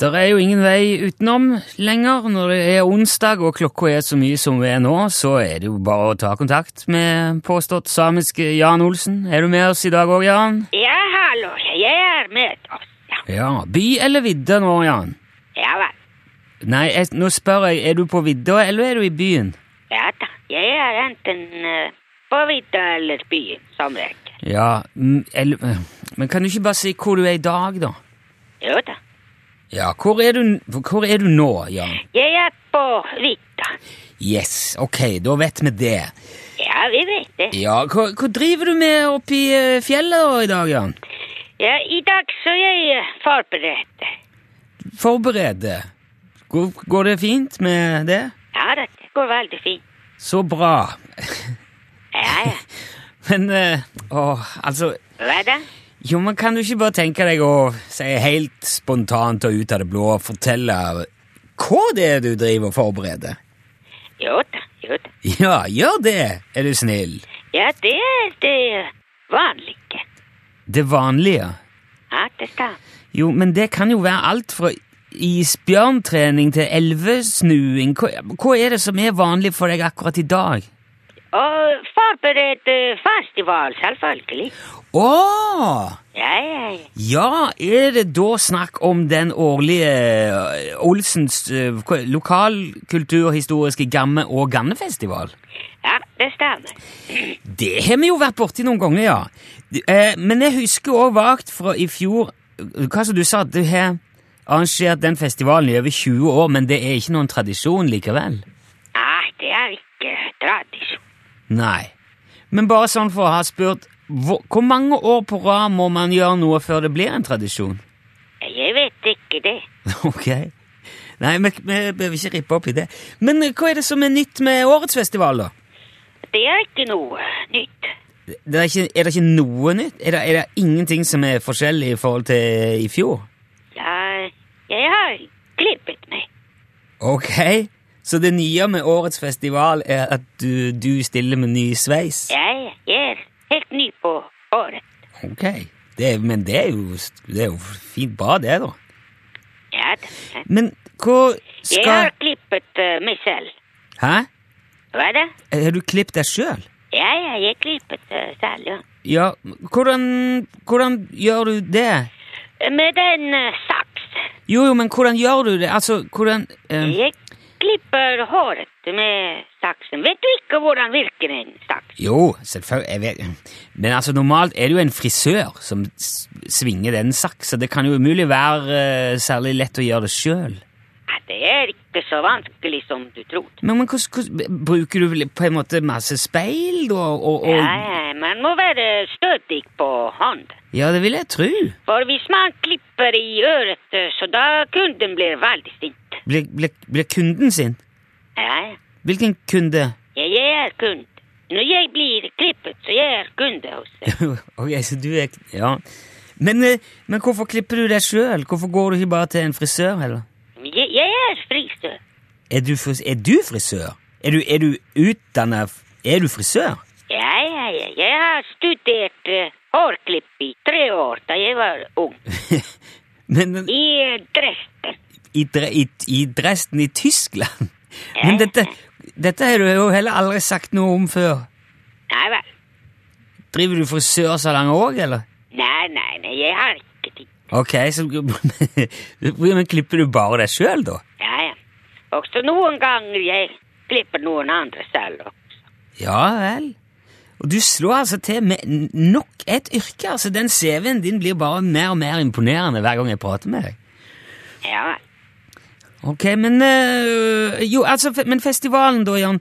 Det er jo ingen vei utenom lenger. Når det er onsdag og klokka er så mye som det er nå, så er det jo bare å ta kontakt med påstått samiske Jan Olsen. Er du med oss i dag òg, Jan? Ja, hallo, jeg er med oss. Ja, Ja. By eller vidde nå, Jan? ja vel. Nei, jeg, nå spør jeg, er du på vidda eller er du i byen? Ja da. Jeg er enten eh, på vidda eller byen, som regel. Ja, mm, eller Men kan du ikke bare si hvor du er i dag, da? Jo da. Ja, hvor er du, hvor er du nå, Jan? Jeg er på vidda. Yes, ok, da vet vi det. Ja, vi vet det. Ja, hva, hva driver du med oppi eh, fjellet da i dag, Jan? Ja, I dag så jeg eh, forbereder. forberede. Går, går det fint med det? Ja da, det går veldig fint. Så bra. Ja, ja. Men eh, åh, altså Hva da? Jo, men kan du ikke bare tenke deg å si helt spontant og ut av det blå fortelle hva det er du driver og forbereder? Jo da, jo da. Ja, gjør det, er du snill. Ja, det er det vanlige. Det vanlige. Ja, det stemmer. Jo, men det kan jo være alt fra isbjørntrening til elvesnuing. Hva, hva er det som er vanlig for deg akkurat i dag? Og forberede festival, selvfølgelig. Åh! Ja, ja, ja. Ja, er det da snakk om den årlige eh, Olsens eh, hva- lokalkulturhistoriske Gamme- og Gannefestival? Ja, det stemmer. Det har vi jo vært borti noen ganger, ja. Eh, Men jeg husker òg vagt fra i fjor eh, Hva som du sa, at du har arrangert den festivalen i over 20 år, men det er ikke noen tradisjon likevel? Nei, det er ikke tradisjon. Nei. Men bare sånn for å ha spurt hvor, hvor mange år på rad må man gjøre noe før det blir en tradisjon? Jeg vet ikke det. Ok. Nei, vi, vi behøver ikke rippe opp i det. Men eh, hva er det som er nytt med årets festival, da? Det er ikke noe nytt. Det er, ikke, er det ikke noe nytt? Er det, er det ingenting som er forskjellig i forhold til eh, i fjor? Jeg, jeg har klippet meg. Ok, så det nye med årets festival er at du, du stiller med ny sveis? Jeg, jeg er helt ny på året. Ok, det, er- men det er, jo, det er jo fint bra det, da. Ja, da. Men hva jeg har skal klippet eh, meg selv. Hæ? Hva da? Har du klippet deg sjøl? Ja, ja, jeg klippet eh, selv, ja. Ja, hvordan, hvordan gjør du det? Med en eh, saks. Jo, jo, men hvordan gjør du det? Altså, hvordan eh, Jeg klipper håret med saksen. Vet du ikke hvordan virker en saks? Jo, selvfølgelig jeg vet. Men altså, normalt er det jo en frisør som s- svinger den saks, så det kan jo umulig være eh, særlig lett å gjøre det sjøl. Ja, det er ikke så vanskelig som du tror. Men, men hvordan, hvordan, bruker du vel på en måte masse speil, da? Og, og, Ja, ja, man må være stødig på hånd. ja, det vil jeg tro. For hvis man klipper i øret, så da kunden blir veldig sint. Blir, blir, blir kunden sin? Ja, ja. Hvilken kunde? jeg er kunde. Når jeg blir klippet, så jeg er kunde hos deg. ok, så du er Ja. Men, eh, men hvorfor klipper du deg sjøl? Hvorfor går du ikke bare til en frisør, heller? Jeg, jeg er frisør. Er du, fris er du frisør? Er du, er du utdanna f- Er du frisør? Ja, ja, ja. Jeg har studert eh, hårklipp i tre år da jeg var ung. Men, men I eh, Dresden. i, Dre- i, i Dresden i Tyskland? Men dette, dette har du jo heller aldri sagt noe om før. Nei vel. Driver du frisørsalong òg, eller? Nei, nei, nei. Jeg har ikke tid. Ok, så Men klipper du bare deg sjøl, da? Ja, ja. Også noen ganger jeg klipper noen andre selv. Ja vel. Og du slår altså til med n- nok et yrke. altså Den CV-en din blir bare mer og mer imponerende hver gang jeg prater med deg. Ja vel. Ok, men øh, Jo, altså, fe- men festivalen da, Jan.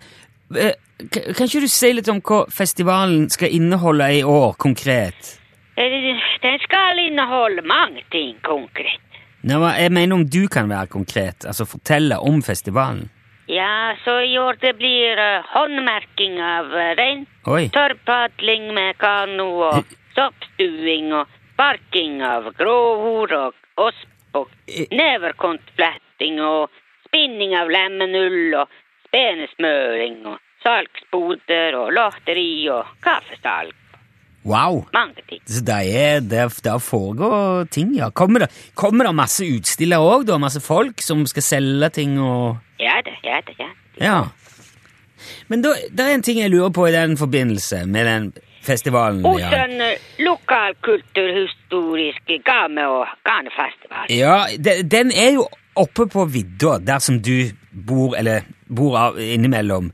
Øh, k- Kan ikke du si litt om hva festivalen skal inneholde i år, konkret? Eh, Den skal inneholde mange ting konkret. Nei, hva- jeg mener om du kan være konkret, altså fortelle om festivalen. Ja, så i år det blir eh, håndmerking av eh, rein, Oi. tørrpadling med kano og soppstuing og sparking av gråhor og osp og Eh. neverkontfletting og spinning av lemenull og spenesmøring og salgsboder og lotteri og kaffesalg. Wow! Mange ting. Så det er, det, det foregår ting, ja. Kommer det, kommer det masse utstillere òg, da? Masse folk som skal selge ting og Ja da, ja da, ja. Ja. Men da, det er en ting jeg lurer på i den forbindelse med den festivalen. Og ja. sånn eh, lokal kulturhistorisk gane- og ganefestival. Ja, de- den er jo oppe på vidda, der som du bor, eller bor av, innimellom.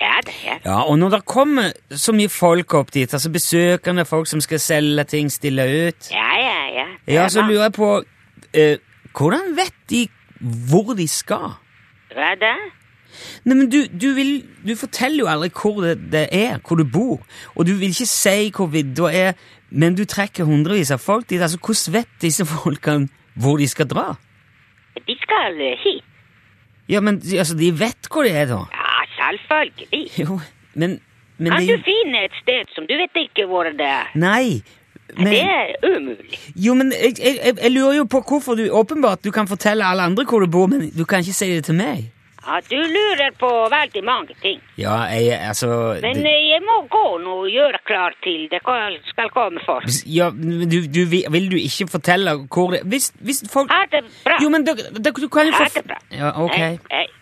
Ja da, ja. Ja, og når det kommer så mye folk opp dit, altså besøkende folk som skal selge ting, stille ut, Ja, ja, ja. Det ja, er så mange. lurer jeg på eh, Hvordan vet de hvor de skal? Hva da? Nei, men du, du, vil, du forteller jo aldri hvor det, det er, hvor du bor. Og du vil ikke si hvor vidda er, men du trekker hundrevis av folk dit. Altså, Hvordan vet disse folkene hvor de skal dra? De skal eh, hit. Ja, men de- altså, De vet hvor det er, da. Ja, selvfølgelig. Jo, men, men Kan det er du jo finne et sted som du vet ikke hvor det er? Nei. Det Men, er umulig. jo, men jeg, jeg, jeg- jeg lurer jo på hvorfor du åpenbart du kan fortelle alle andre hvor du bor, men du kan ikke si det til meg. Ja, du lurer på veldig mange ting. Ja, jeg, altså Men det- eh, jeg må gå nå og gjøre klar til det ko- skal komme folk. ja, men du, du, vil vil du ikke fortelle hvor det Hvis, hvis folk Ha det bra. Jo, men dere- dere- du kan jo Ah, ha få det bra. Ja, ok. Hei, hei.